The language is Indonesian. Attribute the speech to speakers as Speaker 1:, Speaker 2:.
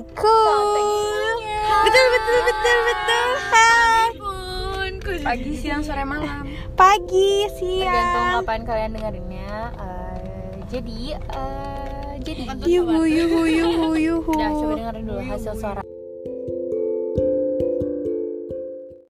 Speaker 1: Assalamualaikum. Betul betul betul betul. Hai.
Speaker 2: pun pagi siang sore malam
Speaker 1: Pagi,
Speaker 2: tergantung
Speaker 1: siang.
Speaker 2: kapan kalian dengerinnya Eh, jadi eh, jadi
Speaker 1: Yuhu yuhu yuhu yuhu.
Speaker 2: udah coba dengerin dulu hasil suara